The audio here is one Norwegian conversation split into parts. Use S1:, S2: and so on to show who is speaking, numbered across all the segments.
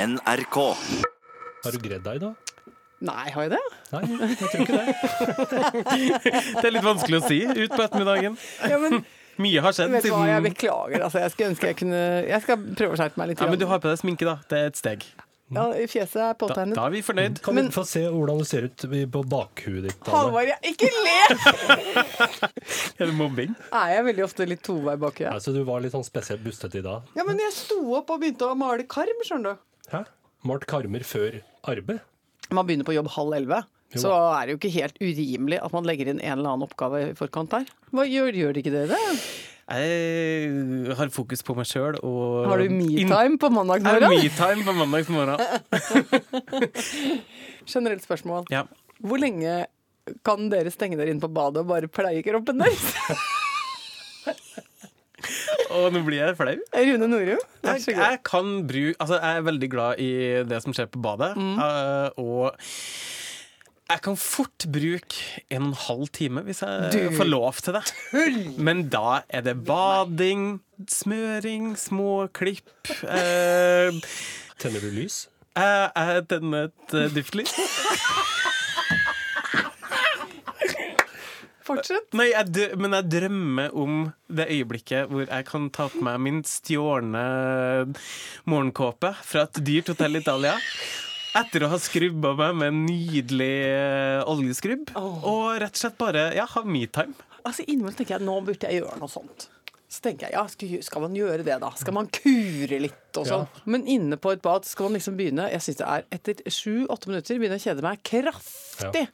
S1: NRK.
S2: Har du gredd deg, da?
S3: Nei, har jeg det?
S2: Nei, jeg tror ikke det.
S4: Det er litt vanskelig å si ut på ettermiddagen.
S3: Ja, men
S4: Mye har skjedd
S3: vet du hva, jeg
S4: siden
S3: beklager. Altså, jeg skulle ønske jeg kunne Jeg skal prøve å skjerpe meg litt.
S4: ja, Men du
S3: grann.
S4: har på deg sminke, da. Det er et steg.
S3: ja, fjeset er
S4: Da,
S3: påtegnet.
S4: da er vi fornøyd.
S2: Kan
S3: Men-
S2: vi få se hvordan det ser ut i- på bakhuet ditt? Anne?
S3: Halvard, jeg- ikke le!
S4: Er det mobbing?
S3: Er jeg veldig ofte litt tovei bak i
S2: Nei,
S3: det?
S2: så du var litt sånn spesielt bustete i dag?
S3: Ja, men jeg sto opp og begynte å male karm, skjønner du.
S2: Hæ? Malt karmer før arbeid?
S3: Man begynner på jobb halv elleve.
S2: Jo.
S3: Så er det jo ikke helt urimelig at man legger inn en eller annen oppgave i forkant der. Hva gjør, gjør ikke dere det?
S4: Jeg har fokus på meg sjøl og
S3: Har du
S4: In-
S3: metime på mandag
S4: Er det
S3: morgen?
S4: me-time på mandagsmorgen?
S3: Generelt spørsmål.
S4: Ja.
S3: Hvor lenge kan dere stenge dere inn på badet og bare pleie kroppen deres?
S4: Og nå blir jeg flau.
S3: Rune Norum? Vær
S4: Jeg,
S3: så god.
S4: jeg kan bruke Altså, jeg er veldig glad i det som skjer på badet, eh, og jeg kan fort bruke en og en halv time hvis jeg får lov til det. Men da er det bading, smøring, små klipp eh,
S2: Tenner du lys?
S4: Jeg jeg tenner et eh, duftlys.
S3: Fortsett.
S4: Nei, jeg dø men jeg drømmer om det øyeblikket hvor jeg kan ta på meg min stjålne morgenkåpe fra et dyrt hotell i Italia. Etter å ha skrubba meg med en nydelig eh, oljeskrubb. Og rett og slett bare ja, ha metime.
S3: Altså Innimellom tenker jeg nå burde jeg gjøre noe sånt. Så tenker jeg, ja, skal, skal man gjøre det, da? Skal man kure litt og sånn? Men inne på et bad skal man liksom begynne Jeg syns det er etter sju-åtte minutter begynner jeg å kjede meg kraftig.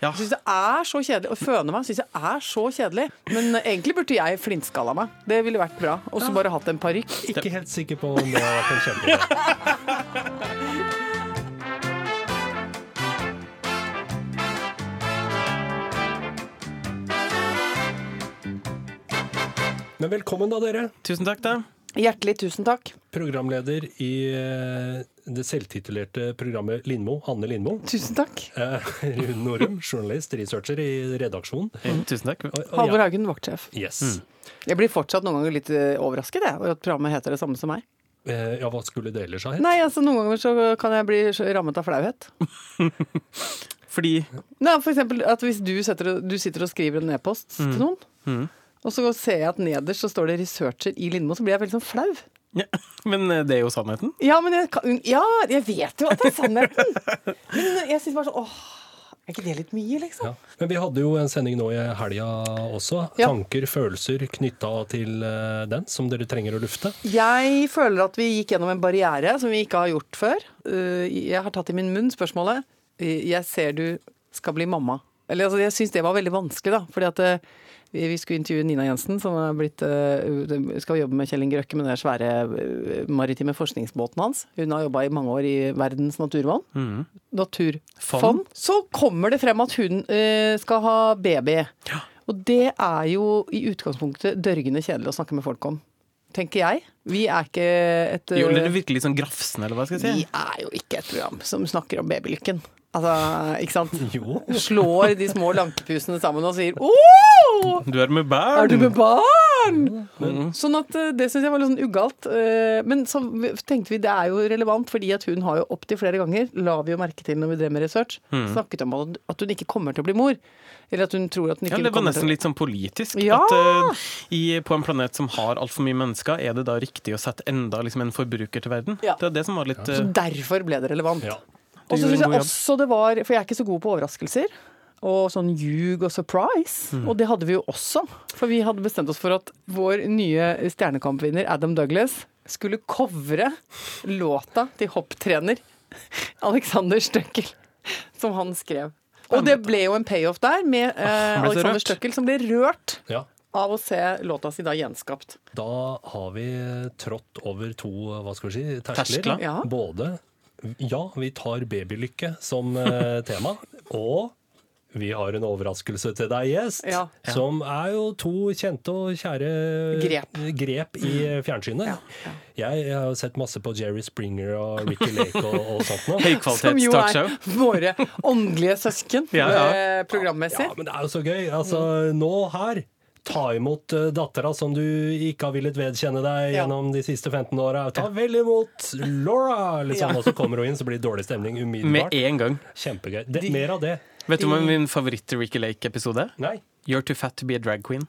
S4: Ja.
S3: Jeg syns det er så kjedelig. Å føne meg syns jeg er så kjedelig. Men eh, egentlig burde jeg flintskalla meg. Det ville vært bra. Og så bare hatt en parykk.
S2: Ikke helt sikker på om det har vært en kjempeidé. Men velkommen, da, dere.
S4: Tusen takk, da.
S3: Hjertelig tusen takk.
S2: Programleder i eh, det selvtitulerte programmet Lindmo, Hanne Lindmo.
S3: Tusen takk.
S2: Eh, Rune Norum, journalist, researcher i redaksjonen.
S4: Eh, Tusen takk.
S2: Og- og
S3: Halvor
S2: jeg-
S3: Haugen, vaktsjef.
S2: Yes.
S3: Jeg blir fortsatt noen ganger litt eh, overrasket jeg, over at programmet heter det samme som meg.
S2: Eh, ja, hva skulle det ellers ha hett?
S3: Nei, altså Noen ganger så kan jeg bli så rammet av flauhet.
S4: Fordi
S3: Nei, for eksempel at hvis du, setter, du sitter og skriver en e-post til noen, og så ser jeg at nederst så står det 'researcher i Lindmo', så blir jeg veldig sånn flau.
S4: ja, Men eh, det er jo sannheten.
S3: Ja, men jeg, kan, ja, jeg vet jo at det er sannheten! Men jeg syns bare sånn åh, er ikke det litt mye, liksom?
S2: Ja. Men vi hadde jo en sending nå i helga også.
S3: Ja.
S2: Tanker, følelser knytta til eh, den, som dere trenger å lufte.
S3: Jeg føler at vi gikk gjennom en barriere som vi ikke har gjort før. Uh, Jeg har tatt i min munn spørsmålet uh, 'Jeg ser du skal bli mamma'. Eller altså, jeg syns det var veldig vanskelig, da. Fordi at uh, vi vi skulle intervjue Nina Jensen, som er blitt, uh, skal jobbe med Kjell Inge Røkke med den der svære uh, maritime forskningsbåten hans. Hun har jobba i mange år i Verdens naturfond. Naturfond.
S4: Fond.
S3: Så kommer det frem at hun uh, skal ha baby. Og det er jo i utgangspunktet dørgende kjedelig å snakke med folk om. Tenker jeg. Vi er ikke et eh,
S4: Jo, eller det er virkelig sånn grafsende, eller hva skal jeg
S3: Vi
S4: si.
S3: er jo ikke et program som snakker om babylykken. Altså, ikke sant?
S2: Jo.
S3: Slår de små lankepusene sammen og sier åh!
S4: Du er med barn.
S3: Er du med barn?
S4: Mm.
S3: Sånn at eh, Det syns jeg var litt sånn ugalt. eh, Men så v- tenkte vi det er jo relevant, fordi at hun har jo opptil flere ganger, la vi jo merke til når vi drev med research,
S4: Mm.
S3: snakket om at- at hun ikke kommer til å bli mor. Eller at hun tror at hun
S4: Ja,
S3: ikke
S4: men Det var
S3: kommer
S4: nesten
S3: til å
S4: litt sånn politisk.
S3: Ja!
S4: At eh, i, På en planet som har altfor mye mennesker, er det da riktig å sette enda liksom, en forbruker til verden?
S3: Ja.
S4: Det er det som var litt eh,
S3: Derfor ble det relevant.
S2: Ja.
S3: Og så
S4: gjorde en
S3: synes
S4: god
S3: jeg
S4: jobb.
S3: også det var For jeg er ikke så god på overraskelser. Og sånn ljug og surprise.
S4: Mm.
S3: Og det hadde vi jo også. For vi hadde bestemt oss for at vår nye Stjernekamp-vinner Adam Douglas skulle covre låta til hopptrener Alexander Støkkel, som han skrev. Og det ble jo en payoff der, med eh,
S4: han Ah, ble så
S3: Alexander
S4: rørt.
S3: Støkkel som ble rørt
S2: Ja.
S3: av å se låta si da gjenskapt.
S2: Da har vi trådt over to hva skal vi si, terskler.
S4: Terskler.
S3: Ja.
S2: Både ja, vi tar babylykke som eh, tema, og vi har en overraskelse til deg, gjest,
S3: Ja.
S2: som er jo to kjente og kjære
S3: Grep. Mm.
S2: grep i fjernsynet. Jeg, jeg har jo sett masse på Jerry Springer og Ricky Lake og, og sånt nå.
S3: Som jo
S4: høykvalitetstalkshow.
S3: er våre åndelige søsken
S4: Ja, ja.
S3: eh, programmessig. Mm.
S2: Ja, men det er jo så gøy. Altså, nå her Ta imot eh, dattera som du ikke har villet vedkjenne deg
S3: Ja.
S2: gjennom de siste 15 åra. Ta vel imot Laura! Liksom.
S3: Ja.
S2: Og så kommer hun inn, så blir det dårlig stemning
S4: Med
S2: umiddelbart.
S4: en gang.
S2: Kjempegøy. Det, mer av det.
S4: Vet du hva min favoritt-Ricky Lake-episode er?
S2: Nei.
S4: You're too fat to be a drag queen.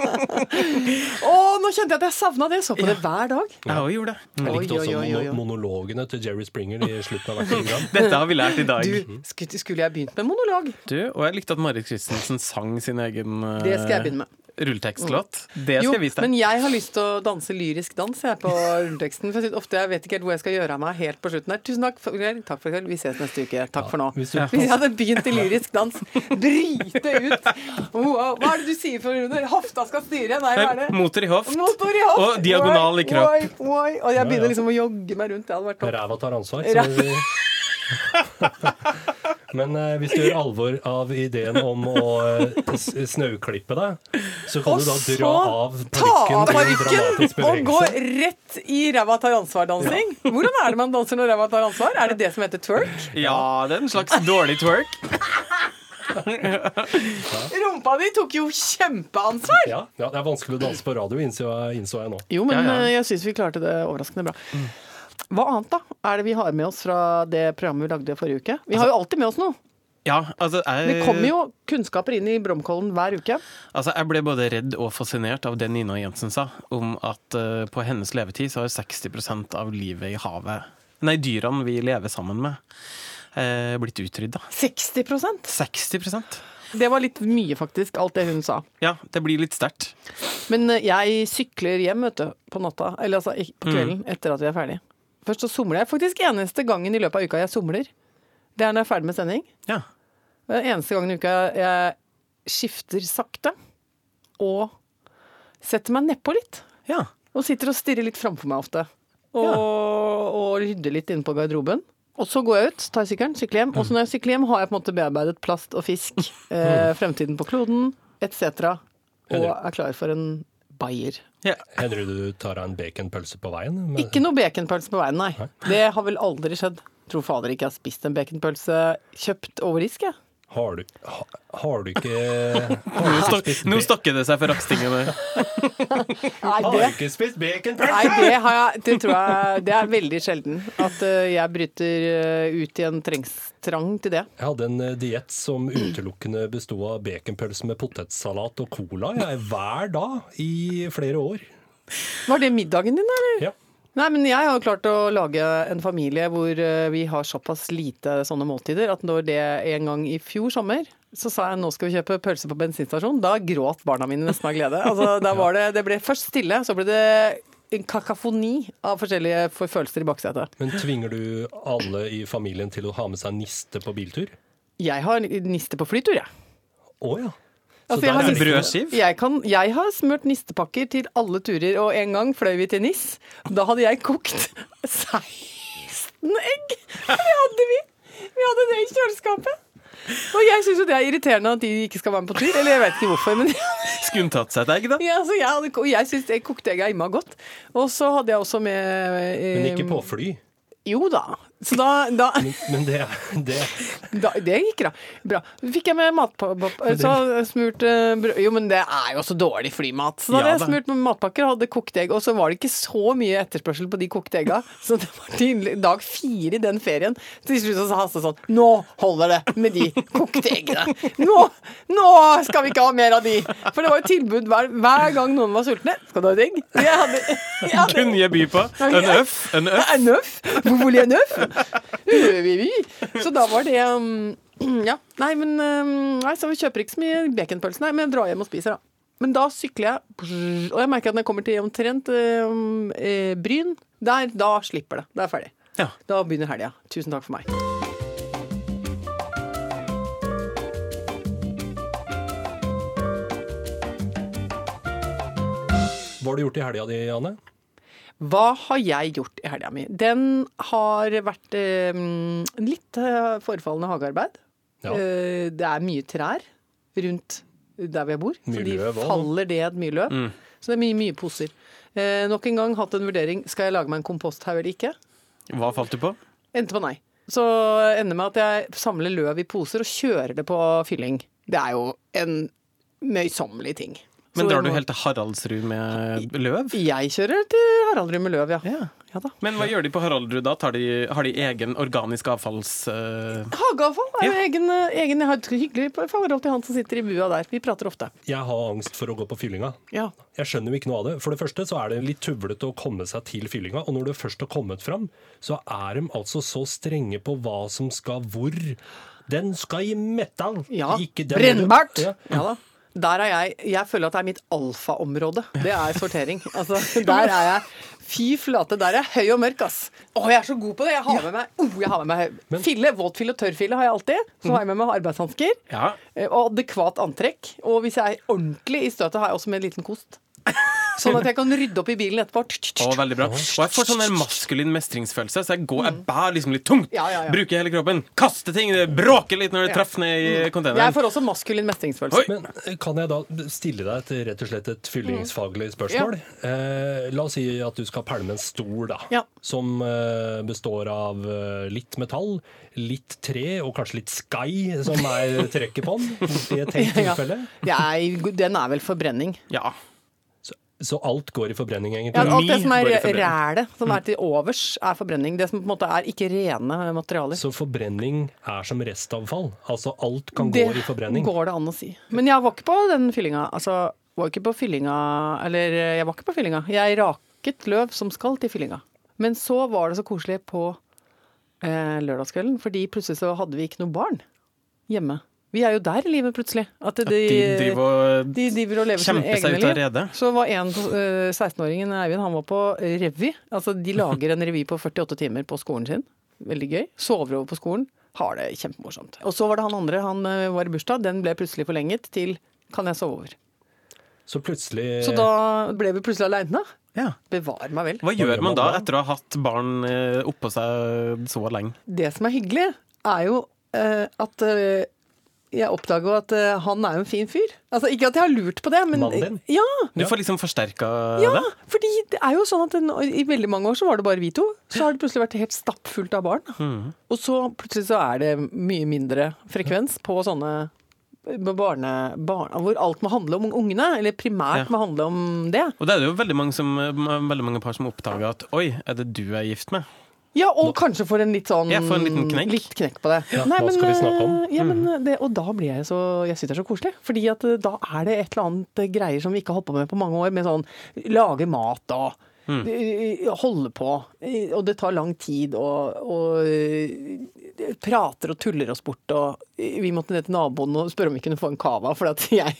S3: Å, nå kjente jeg at jeg savna det! Jeg så på det hver dag.
S4: Jeg òg gjorde det.
S2: Jeg likte
S3: Oi,
S2: også
S3: oi, oi, oi, oi.
S2: mono- monologene til Jerry Springer i slutten av hvert program.
S4: Dette har vi lært i dag. Du,
S3: Du, skulle, skulle jeg begynt med monolog?
S4: og jeg likte at Marit Christensen sang sin egen eh,
S3: Det skal jeg begynne med.
S4: rulletekstlåt. Det
S3: Jo,
S4: skal jeg vise
S3: men
S4: deg.
S3: jeg har lyst til å danse lyrisk dans jeg, på rulleteksten. For jeg synes ofte jeg vet ikke helt hvor jeg skal gjøre av meg helt på slutten her. Tusen takk for i kveld. Takk for i kveld. Vi ses neste uke. Takk for nå.
S2: hvis
S3: Hvis
S2: du-
S3: jeg hadde begynt i lyrisk dans, bryte ut wow. Hva er det du sier for under? Hofta skal styre? Nei, hva er det?
S4: Motor i hoft.
S3: Motor i hoft!
S4: Og diagonal i
S3: Oi,
S4: kropp.
S3: oi, oi. Og jeg
S2: Ja, ja.
S3: begynner liksom å jogge meg rundt. Det hadde vært topp.
S2: Ræva tar ansvar.
S3: Ræ-
S2: Som vi... Men eh, hvis du gjør alvor av ideen om å eh, s- snauklippe deg, så kan
S3: Og
S2: du da
S3: så
S2: dra av
S3: Ta av
S2: parykken i en dramatisk
S3: parykken og gå
S2: bevegelse.
S3: rett i ræva tar ansvar-dansing. Hvordan er det man danser når ræva tar ansvar? Er det det som heter twerk?
S4: Ja, det er en slags dårlig twerk.
S3: Rumpa di tok jo kjempeansvar!
S2: Ja, ja, det er vanskelig å danse på radio, innså jeg, innså jeg nå.
S3: Jo, men
S4: Ja, ja.
S3: eh, jeg syns vi klarte det overraskende bra.
S2: Mm.
S3: Hva annet da er det vi har med oss fra det programmet vi lagde forrige uke? Vi
S2: Altså,
S3: har jo alltid med oss noe.
S4: Ja, altså
S3: Det
S2: eh,
S4: jeg,
S3: kommer jo kunnskaper inn i Bromkollen hver uke.
S4: altså jeg ble både redd og fascinert av det Nina Jensen sa, om at eh, på hennes levetid så har 60 av livet i havet, nei, dyrene vi lever sammen med, eh, blitt utrydda.
S3: 60
S4: 60
S3: Det var litt mye, faktisk, alt det hun sa.
S4: Ja, det blir litt sterkt.
S3: Men eh, jeg sykler hjem vet du, på natta, eller altså ikke- på kvelden, etter at vi er ferdig. Først så somler jeg. Faktisk eneste gangen i løpet av uka jeg somler, det er når jeg er ferdig med sending.
S4: Ja.
S3: Det er eneste gangen i uka jeg skifter sakte og setter meg nedpå litt.
S4: ja.
S3: Og sitter og stirrer litt framfor meg ofte. Og, og rydder litt inne på garderoben. Og så går jeg ut, tar sykkelen, sykler hjem. Og så når jeg sykler hjem, har jeg på en måte bearbeidet plast og fisk, eh, fremtiden på kloden etc. Og
S2: Eller-
S3: er klar for en bayer.
S4: ja.
S2: Hender det du tar deg en baconpølse på veien? Men-
S3: Ikke noe baconpølse på veien, nei. Det har vel aldri skjedd. Tror fader ikke jeg har spist en baconpølse kjøpt over disk, jeg.
S2: Har du, ha, har du ikke Har
S4: Nå,
S2: du
S4: stok,
S2: ikke spist,
S4: nå
S2: ba-
S4: stokker det seg for rakstingene.
S3: Nei,
S2: har du
S3: det,
S2: ikke spist
S3: nei,
S2: baconpølse?
S3: det, har jeg, det tror jeg Det er veldig sjelden at eh, jeg bryter eh, ut i en trengstrang til det.
S2: Jeg hadde en eh, diett som utelukkende besto av baconpølse med potetsalat og cola jeg, hver dag i flere år.
S3: Var det middagen din, eller?
S2: Ja.
S3: Nei, men jeg har jo klart å lage en familie hvor eh, vi har såpass lite sånne måltider at når det en gang i fjor sommer så sa jeg nå skal vi kjøpe pølse på bensinstasjon. Da gråt barna mine nesten av glede. Altså, da var det, det ble først stille, så ble det en kakafoni av forskjellige for- følelser i baksetet.
S2: Men tvinger du alle i familien til å ha med seg niste på biltur?
S3: Jeg har niste på flytur, jeg.
S2: Å ja.
S3: Altså, jeg
S2: der
S3: har
S2: er det
S3: niste-
S4: brødskiv?
S3: Jeg, kan, jeg har smurt nistepakker til alle turer, og en gang fløy vi til NIS. Da hadde jeg kokt 16 egg! Det hadde vi! Vi hadde det i kjøleskapet. Og jeg syns jo det er irriterende at de ikke skal være med på tur. Eller jeg vet ikke hvorfor, men
S4: Skulle hun tatt seg et egg, da?
S3: ja, så jeg, hadde, og jeg syns jeg kokte egga imma godt. Og så hadde jeg også med eh,
S2: Men ikke på fly.
S3: Jo da. Så da, da
S2: Men, men det, er- det
S3: da, det gikk da. bra. Fikk jeg med matpakke Så smurt eh, brød Jo, men det er jo så dårlig flymat. Så da hadde
S4: Ja
S3: jeg
S4: da.
S3: smurt med matpakker og hadde kokte egg. Og så var det ikke så mye etterspørsel på de kokte egga. Så det var tydelig dag fire i den ferien. Til slutt så sa Hasse sånn Nå holder det med de kokte eggene! Nå, nå skal vi ikke ha mer av de! For det var jo tilbud hver, hver gang noen var sultne. Skal du ha et egg? Så Jeg hadde, jeg hadde
S4: Kunne jeg by på? En øff? En øff?
S3: en øff? Hvor voulez en øff? Oui, oui, oui. Så da var det um, Ja. Nei, men um, nei, så vi kjøper ikke så mye baconpølse, nei, men jeg drar hjem og spiser, da. Men da sykler jeg, og jeg merker at når jeg kommer til omtrent um, eh, Bryn, der, da slipper det. Da er jeg ferdig.
S4: Ja.
S3: Da begynner helga. Tusen takk for meg.
S2: Hva har du gjort i helga di, Anne?
S3: Hva har jeg gjort i helga mi? Den har vært eh, litt eh, forefallende hagearbeid.
S2: Ja.
S3: Eh, det er mye trær rundt der hvor jeg bor.
S2: Mye
S3: så de
S2: løv også.
S3: faller ned mye løv.
S4: Mm.
S3: Så det er mye, mye poser. Eh, nok en gang hatt en vurdering skal jeg lage meg en komposthaug eller ikke.
S4: Hva falt du på?
S3: Endte på nei. Så ender med at jeg samler løv i poser og kjører det på fylling. Det er jo en møysommelige ting. Så
S4: Men drar
S3: jeg
S4: du
S3: må-
S4: helt til Haraldsrud med løv?
S3: Jeg kjører til Haraldrud med løv, ja.
S4: Ja.
S3: ja da.
S4: Men hva gjør de på Haraldrud da? Tar de, har de egen organisk avfalls... eh,
S3: Hageavfall er jo
S4: Ja.
S3: egen, egen Jeg har et hyggelig forhold til han som sitter i bua der. Vi prater ofte.
S2: Jeg har angst for å gå på fyllinga.
S3: Ja.
S2: Jeg skjønner jo ikke noe av det. For det første så er det litt tuvlete å komme seg til fyllinga, og når du først har kommet fram, så er de altså så strenge på hva som skal hvor. Den skal i metal!
S3: Ja.
S2: ikke den-
S3: Brennbart!
S2: Ja.
S3: Ja. da. Der er jeg Jeg føler at det er mitt alfaområde. Det er sortering. Altså, der er jeg Fy flate, der er jeg høy og mørk, ass. Å, jeg er så god på det! Jeg har med meg, oh, jeg har med meg
S2: Men-
S3: fille, våtfille og tørrfille har jeg alltid. Så har jeg med meg arbeidshansker.
S4: Ja.
S3: eh, Og adekvat antrekk. Og hvis jeg er ordentlig i støtet, har jeg også med en liten kost. Sånn at jeg kan rydde opp i bilen etterpå.
S4: Å, veldig bra. Og jeg får sånn der maskulin mestringsfølelse, så jeg går, jeg bærer liksom litt tungt.
S3: Mm. Ja, ja, ja.
S4: Bruker hele kroppen. Kaster ting, det bråker litt når det
S3: Ja. Mm.
S4: treffer ned i
S3: Jeg
S4: containeren.
S3: får også maskulin mestringsfølelse.
S4: Oi.
S2: Men eh, kan jeg da stille deg et, rett og slett et fyllingsfaglig spørsmål? Eh, la oss si at du skal pælme en stol, da.
S3: Ja.
S2: Som eh, består av eh, litt metall, litt tre og kanskje litt sky, som er trekket på den. I et tenkt
S3: Ja.
S2: tilfelle.
S3: Jeg, den er vel forbrenning.
S4: Ja.
S2: Så alt går i forbrenning,
S3: Ja,
S2: egentlig.
S3: alt det
S4: Økonomi
S3: som er
S4: går i forbrenning.
S3: rælet, som er til overs, er forbrenning. Det som på en måte er ikke rene materialer.
S2: Så forbrenning er som restavfall. Altså alt kan
S3: Det
S2: gå i forbrenning.
S3: går det an å si. Men jeg var ikke på den fyllinga. Altså, var ikke på fyllinga Eller eh, jeg var ikke på fyllinga. Jeg raket løv som skal til fyllinga. Men så var det så koselig på eh, lørdagskvelden, fordi plutselig så hadde vi ikke noe barn hjemme. Vi er jo der i livet, plutselig. At de,
S4: De driver og
S3: De driver og lever sine
S4: Kjempe seg
S3: egne
S4: ut av
S3: liv.
S4: redet.
S3: Så var en eh, 16-åringen Eivind, han var på revy. Altså, de lager en revy på 48 timer på skolen sin. Veldig gøy. Sover over på skolen. Har det kjempemorsomt. Og så var det han andre, han eh, var i bursdag. Den ble plutselig forlenget til kan jeg sove over.
S2: Så plutselig
S3: Så da ble vi plutselig aleine.
S4: Ja.
S3: Bevar meg vel.
S4: Hva gjør man da etter å ha hatt barn eh, oppå seg så lenge?
S3: Det som er hyggelig, er jo eh, at eh, jeg oppdaga at eh, han er jo en fin fyr. Altså, ikke at jeg har lurt på det, men
S2: Mannen din?
S3: Ja,
S4: Du får liksom forsterka
S3: Ja,
S4: det.
S3: fordi det er jo sånn at den, i veldig mange år så var det bare vi to. Så har det plutselig vært helt stappfullt av barn.
S4: Mm.
S3: Og så plutselig så er det mye mindre frekvens på sånne eh, barne, barne hvor alt må handle om ungene. Eller primært
S4: Ja.
S3: må handle om det.
S4: Og det er det jo veldig mange, som, veldig mange par som oppdager at Oi, er det du jeg er gift med?
S3: Ja, og kanskje får en litt sånn
S4: Ja, får en liten knekk.
S3: litt knekk på det.
S2: Ja, hva skal vi snakke om? Mm.
S3: eh, Ja, men eh, det, og da blir jeg så Jeg syns det er så koselig. Fordi at eh, da er det et eller annet eh, greier som vi ikke har holdt på med på mange år, med sånn lage mat og
S4: Mm.
S3: eh, Holde på, eh, og det tar lang tid, og, og eh, prater og tuller oss bort. Og eh, vi måtte ned til naboen og spørre om vi kunne få en cava, for at jeg,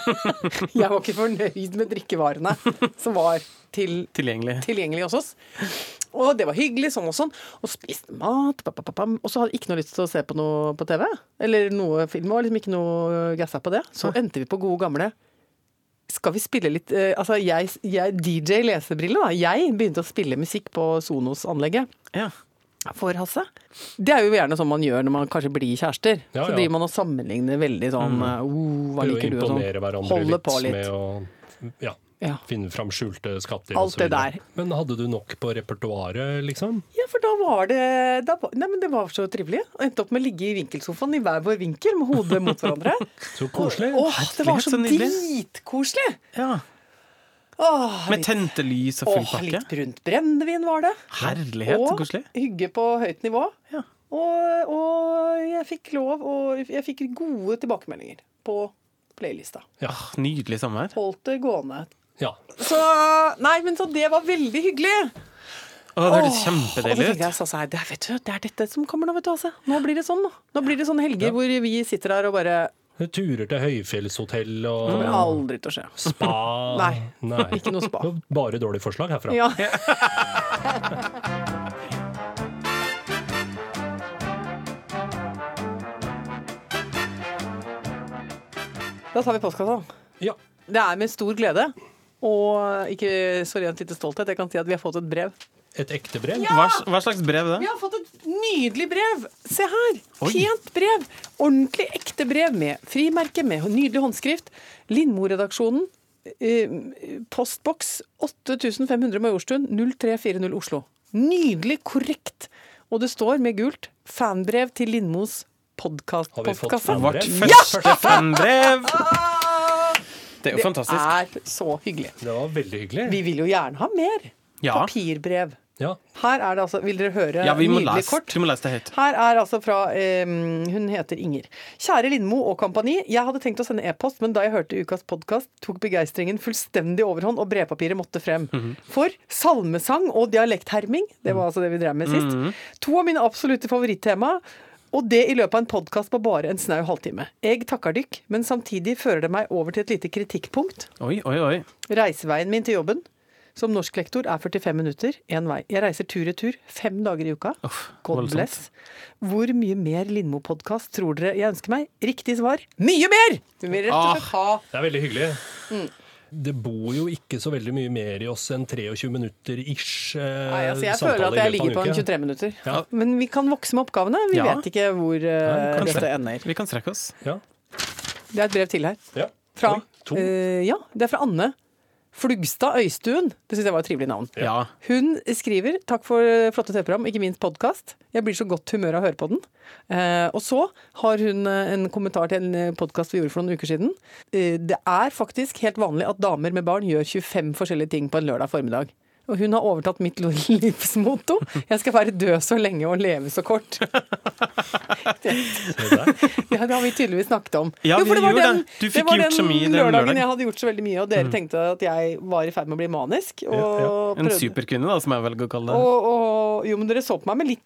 S3: jeg var ikke fornøyd med drikkevarene som var til
S4: Tilgjengelig.
S3: tilgjengelig hos oss. Og det var hyggelig, sånn og sånn. Og spiste mat, pa, pa, pa, pam. og så hadde jeg ikke noe lyst til å se på noe på TV. Eller noe film. Og liksom ikke noe gassa på det. Så endte vi på gode gamle Skal vi spille litt eh, Altså, jeg, jeg DJ Lesebrille, da. Jeg begynte å spille musikk på Sonos-anlegget
S4: Ja.
S3: for Hasse. Det er jo gjerne sånn man gjør når man kanskje blir kjærester.
S2: Ja,
S3: Så
S2: ja.
S3: driver man og sammenligner veldig sånn eh, oh, Hva
S2: Prøve å
S3: liker du? Og
S2: imponere
S3: sånn.
S2: hverandre
S3: Holde
S2: litt,
S3: på litt.
S2: med å ja,
S3: Ja.
S2: finne fram skjulte skatter.
S3: Alt
S2: og så
S3: det
S2: videre.
S3: der.
S2: Men hadde du nok på repertoaret, liksom?
S3: Ja, for da var det da, var- Nei, men det var så trivelig. Og endte opp med å ligge i vinkelsofaen i hver vår vinkel med hodet mot hverandre.
S2: Så koselig.
S3: Åh, det var så
S4: Herlighet, så nydelig.
S3: dritkoselig!
S4: ja.
S3: Åh,
S4: Med tente lys og full
S3: åh,
S4: pakke.
S3: litt brunt brennevin var det.
S4: Herlighet, så
S3: og
S4: koselig.
S3: hygge på høyt nivå.
S4: Ja.
S3: Og, og jeg fikk lov, og jeg fikk gode tilbakemeldinger på playlista.
S2: Ja.
S4: Ah, nydelig sommer.
S3: Holdt det gående.
S2: ja.
S3: Så Nei, men så det var veldig hyggelig!
S4: Å, det hørtes
S3: Åh, og
S4: kjempedeilig
S3: så tenkte
S4: ut.
S3: jeg, så sa jeg, det, er- vet du, det er dette som kommer nå, vet du, Hasse. Nå blir det sånn, nå. Nå blir det sånne helger hvor vi sitter her og bare
S2: Turer til høyfjellshotell og
S3: Kommer aldri til å skje.
S2: spa.
S3: Nei, ikke noe spa.
S2: Bare dårlige forslag herfra.
S3: Ja. Da tar vi postkassa.
S2: Ja.
S3: Det er med stor glede og ikke så rent lite stolthet. Jeg kan si at vi har fått et brev.
S2: Et ekte brev?
S4: Hva, hva slags brev er
S3: Vi
S4: det?
S3: har fått et nydelig brev! Se her!
S4: Oi.
S3: Pent brev! Ordentlig ekte brev med frimerke, med nydelig håndskrift. Lindmo-redaksjonen. eh, Postboks 8500 Majorstuen, 0340 Oslo. Nydelig korrekt! Og det står med gult 'Fanbrev til Lindmos
S2: Har vi fått
S3: podkast-postkasse'.
S2: fanbrev?
S4: Vårt første fanbrev. Det er jo fantastisk.
S3: Det er så hyggelig.
S2: Det var veldig hyggelig.
S3: Vi vil jo gjerne ha mer
S4: Ja.
S3: papirbrev.
S2: Ja.
S3: Her er det altså Vil dere høre
S4: Ja, vi må
S3: nydelig
S4: lese,
S3: kort?
S4: du må lese det høyt.
S3: Her er altså fra eh, Hun heter Inger. Kjære Lindmo og kompani. Jeg hadde tenkt å sende e-post, men da jeg hørte ukas podkast, tok begeistringen fullstendig overhånd, og brevpapiret måtte frem. For salmesang og dialektherming, det var altså det vi drev med sist, to av mine absolutte favorittema. Og det i løpet av en podkast på bare en snau halvtime. Jeg takker dykk, men samtidig fører det meg over til et lite kritikkpunkt.
S4: Oi, oi, oi.
S3: Reiseveien min til jobben som norsklektor er 45 minutter én vei. Jeg reiser tur-retur fem dager i uka. God
S4: voldsomt.
S3: bless. Hvor mye mer Lindmo-podkast tror dere jeg ønsker meg? Riktig svar mye mer! Du vil
S2: Ah,
S3: rett og slett ha
S2: Det er veldig hyggelig.
S3: Mm.
S2: Det bor jo ikke så veldig mye mer i oss enn 23 minutter ish. eh,
S3: Nei, altså jeg
S2: samtale
S3: føler at
S2: i løpet
S3: jeg
S2: av
S3: ligger på en
S2: uke.
S3: 23 minutter.
S2: Ja.
S3: Men vi kan vokse med oppgavene. Vi
S4: Ja.
S3: vet ikke hvor eh,
S4: Kanskje.
S3: dette ender.
S4: Vi kan strekke oss.
S2: Ja.
S3: Det er et brev til her.
S2: Ja.
S3: Fra,
S2: Oi, to.
S3: eh, ja, det er fra Anne Flugstad Øystuen. Det syns jeg var et trivelig navn.
S4: Ja.
S3: Hun skriver 'Takk for flotte TV-program, ikke minst podkast'. Jeg blir så godt humør av å høre på den. Eh, og så har hun eh, en kommentar til en podkast vi gjorde for noen uker siden. Eh, det er faktisk helt vanlig at damer med barn gjør 25 forskjellige ting på en lørdag formiddag. Og hun har overtatt mitt lo- livsmotto. Jeg skal være død så lenge og leve så kort.
S2: Se der.
S3: Ja, det har vi tydeligvis snakket om.
S4: Ja, vi
S3: for var
S4: gjorde
S3: den-
S4: det. Du fikk
S3: var
S4: gjort så mye den
S3: lørdagen
S4: lørdagen. Mm.
S3: jeg hadde gjort så veldig mye, og dere tenkte at jeg var i ferd med å bli manisk. Og
S2: Ja,
S4: En
S3: prøvde-
S4: superkvinne, da, som jeg velger å kalle det.
S3: Og, og, jo, men dere så på meg med litt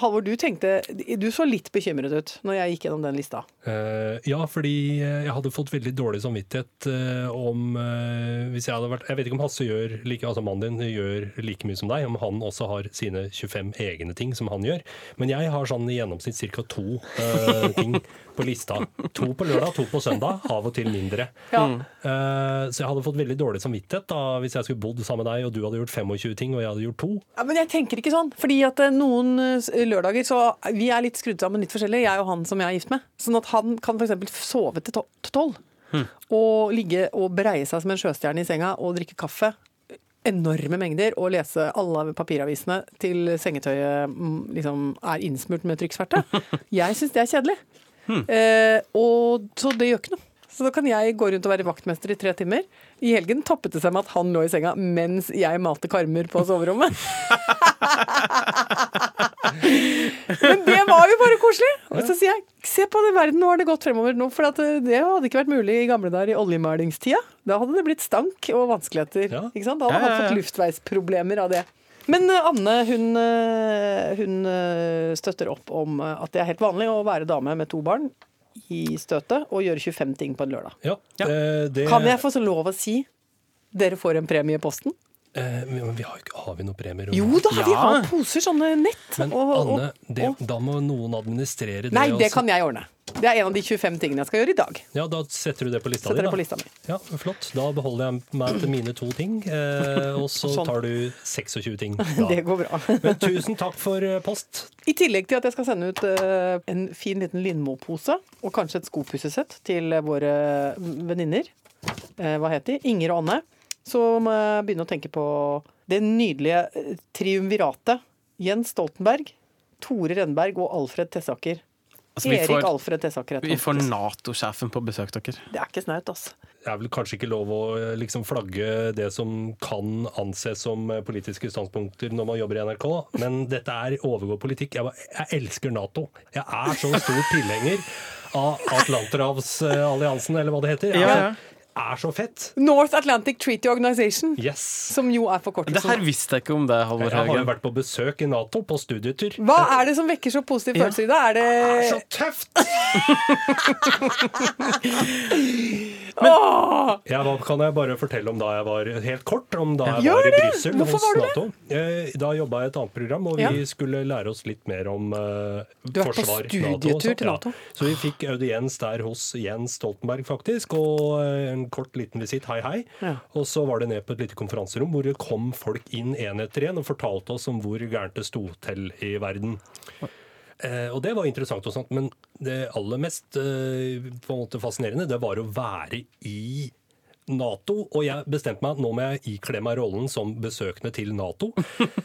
S3: Halvor, du tenkte Du så litt bekymret ut når jeg gikk gjennom den lista.
S2: Eh, ja, fordi eh, jeg hadde fått veldig dårlig samvittighet eh, om eh, Hvis jeg hadde vært Jeg vet ikke om Hasse gjør like, altså mannen din gjør like mye som deg, om han også har sine 25 egne ting som han gjør. Men jeg har sånn i gjennomsnitt ca. to eh, ting på lista. To på lørdag, to på søndag. Av og til mindre.
S3: Ja.
S2: Eh, så jeg hadde fått veldig dårlig samvittighet da, hvis jeg skulle bodd sammen med deg, og du hadde gjort 25 ting, og jeg hadde gjort to.
S3: Ja, men jeg tenker ikke sånn. Fordi at eh, noen eh, lørdager så Vi er litt skrudd sammen litt forskjellig, jeg og han som jeg er gift med. Sånn at han kan f.eks. sove til to- til tolv. Og ligge og breie seg som en sjøstjerne i senga og drikke kaffe. Enorme mengder. Og lese alle papiravisene til sengetøyet mm, liksom er innsmurt med trykksverte. Jeg syns det er kjedelig. Eh, og, så det gjør ikke noe. Så da kan jeg gå rundt og være vaktmester i tre timer. I helgen toppet det seg med at han lå i senga mens jeg malte karmer på soverommet. Men det var jo bare koselig. Og så sier jeg se på den verden, nå har det gått fremover nå. For at eh, det hadde ikke vært mulig i gamle dager i oljemalingstida. Da hadde det blitt stank og vanskeligheter.
S2: Ja.
S3: Ikke sant? Da hadde
S4: Ja, ja,
S3: han
S4: ja.
S3: fått luftveisproblemer av det. Men eh, Anne hun, eh, hun eh, støtter opp om eh, at det er helt vanlig å være dame med to barn i støtet og gjøre 25 ting på en lørdag.
S2: Ja,
S4: Ja.
S2: eh, det,
S3: Kan jeg få så lov å si dere får en premie i posten?
S2: eh, men vi har, jo ikke, har vi noen premier?
S3: Jo da, vi
S4: Ja.
S3: har poser sånne nett.
S2: Men
S3: og- og-
S2: Anne, det,
S3: og-
S2: da må noen administrere det.
S3: Nei, det
S2: også.
S3: kan jeg ordne. Det er en av de 25 tingene jeg skal gjøre i dag.
S2: Ja, Da setter du det på lista di.
S3: Setter det på
S2: da.
S3: lista mi.
S2: Ja, Flott. Da beholder jeg meg til mine to ting, eh, og så
S3: Sånn.
S2: tar du 26 ting. da.
S3: Det går bra.
S2: Men tusen takk for eh, post.
S3: I tillegg til at jeg skal sende ut eh, en fin liten Lindmo-pose og kanskje et skopussesett til våre venninner. Eh, Hva heter de? Inger og Anne. Så må jeg begynne å tenke på det nydelige eh, triumviratet. Jens Stoltenberg, Tore Renberg og Alfred Tessaker.
S4: Altså, vi
S3: Erik
S4: får,
S3: Alfred Tessaker. heter
S4: vi
S3: han.
S4: får Nato-sjefen på besøk, dere.
S3: Det er ikke snaut, altså.
S2: Det er vel kanskje ikke lov å eh, liksom, flagge det som kan anses som eh, politiske standpunkter når man jobber i NRK, men dette er overgår politikk. Jeg, bare, jeg elsker Nato. Jeg er så stor tilhenger av Atlanterhavsalliansen, eller hva det heter. Jeg
S4: Ja,
S2: er,
S4: ja.
S2: så, er så fett.
S3: North Atlantic Treaty Organization,
S2: Yes.
S3: som jo er
S4: Det her
S3: forkortelsen.
S4: visste jeg ikke om det, Halvor
S2: Jeg har jo
S4: Haugen.
S2: vært på besøk i Nato på studietur.
S3: Hva er det som vekker så positive følelser i deg? Er det
S2: så tøft! Ja, hva kan jeg bare fortelle om da jeg var helt kort? Om da jeg
S3: Gjør
S2: var i
S3: det!
S2: Brussel
S3: Hvorfor
S2: hos
S3: var du det?
S2: Nato. Eh, Da jobba jeg i et annet program, og vi
S3: Ja.
S2: skulle lære oss litt mer om eh,
S3: Du har vært på
S2: forsvar.
S3: studietur
S2: så-
S3: til NATO?
S2: Ja. Så vi fikk audiens der hos Jens Stoltenberg, faktisk, og eh, en kort liten visitt, hei hei.
S3: Ja.
S2: Og så var det ned på et lite konferanserom hvor det kom folk inn en etter en og fortalte oss om hvor gærent det sto til i verden. Eh, og det var interessant, og sånt, men det aller mest eh, på en måte fascinerende det var å være i Nato. Og jeg bestemte meg at nå må jeg ikle meg rollen som besøkende til Nato.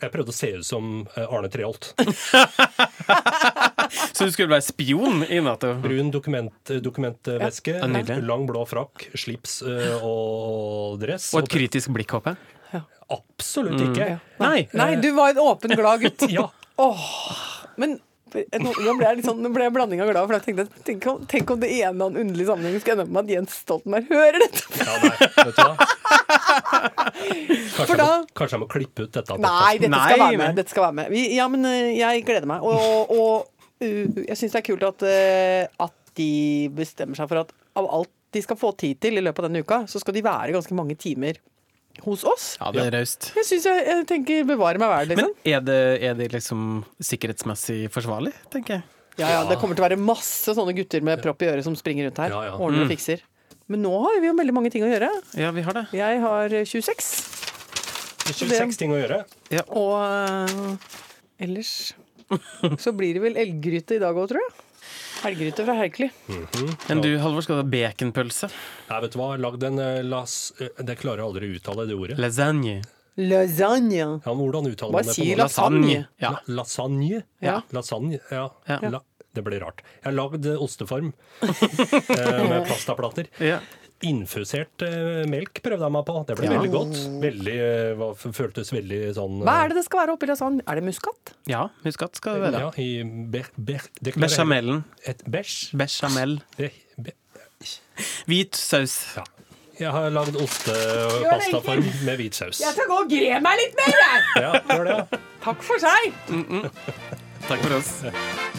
S2: Jeg prøvde å se ut som eh, Arne Treholt.
S4: Så du skulle være spion i Nato?
S2: Brun dokument, eh, dokumentveske, eh,
S4: Ja, nydelig.
S2: lang blå frakk, slips eh, og dress.
S3: sånn.
S4: Og et Mm. kritisk blikk, håper jeg.
S2: Absolutt ikke!
S3: Ja.
S4: Nei.
S3: Nei, du var en åpen, glad gutt.
S2: Ja.
S3: Men nå nå ble jeg litt sånn, nå ble jeg blandinga glad, for jeg tenkte at tenk om, tenk om det i en eller annen underlig sammenheng skal ende opp med at Jens Stoltenberg hører dette!
S2: ja, nei, vet du hva? Kanskje,
S3: For da-
S2: jeg må, kanskje jeg må klippe ut dette. av
S3: Nei, dette skal
S4: Nei,
S3: være
S4: men-
S3: med. Dette skal være med. Vi, ja, men eh, jeg gleder meg. Og, og, og uh, jeg syns det er kult at, eh, at de bestemmer seg for at av alt de skal få tid til i løpet av denne uka, så skal de være ganske mange timer hos oss.
S4: Ja, det er raust.
S3: Jeg syns jeg, jeg tenker bevare meg vel,
S4: Men
S3: liksom.
S4: er det, er det liksom sikkerhetsmessig forsvarlig, tenker jeg?
S3: Ja, ja, det kommer til å være masse sånne gutter med propp i øret som springer rundt her.
S2: Ja, ja.
S3: Ordner og fikser. Men nå har vi jo veldig mange ting å gjøre.
S4: Ja, vi har det.
S3: Jeg har eh, 26.
S2: dette. 26 ting å gjøre.
S3: Og eh, ellers så blir det vel elggryte i dag òg, tror jeg. Helggryte fra Helkli.
S4: Men du, Halvor, skal du ha baconpølse?
S2: Nei, vet du hva, lag den eh, las... eh, Det klarer jeg aldri å uttale, det ordet.
S4: Lasagne.
S3: Lasagne.
S2: Ja, men hvordan uttaler
S3: Hva
S2: man det på
S3: sier
S2: norsk?
S3: Lasagne.
S4: Ja.
S2: La- Lasagne?
S3: Ja.
S2: Lasagne, ja.
S4: Ja.
S2: La det ble rart. Jeg har lagd eh, osteform eh, med pastaplater.
S4: Ja.
S2: Infusert eh, melk prøvde jeg meg på. Det ble
S4: Ja.
S2: veldig godt. Veldig, eh, var, føltes veldig sånn eh,
S3: Hva er det det skal være oppi lasagne? Er det muskat?
S4: ja, husk at skal det være.
S2: Ja, i ber, ber, det klarer jeg-
S4: Bechamelen.
S2: Et bæsj?
S4: Bechamel.
S2: Eh, be-
S4: Hvit saus.
S2: Ja. Jeg har lagd
S3: Gjør
S2: ostepastaform
S3: det
S2: med hvit saus.
S3: skal gå og gre meg litt mer, jeg!
S2: Ja, gjør det. ja.
S3: Takk for seg!
S4: Takk for oss.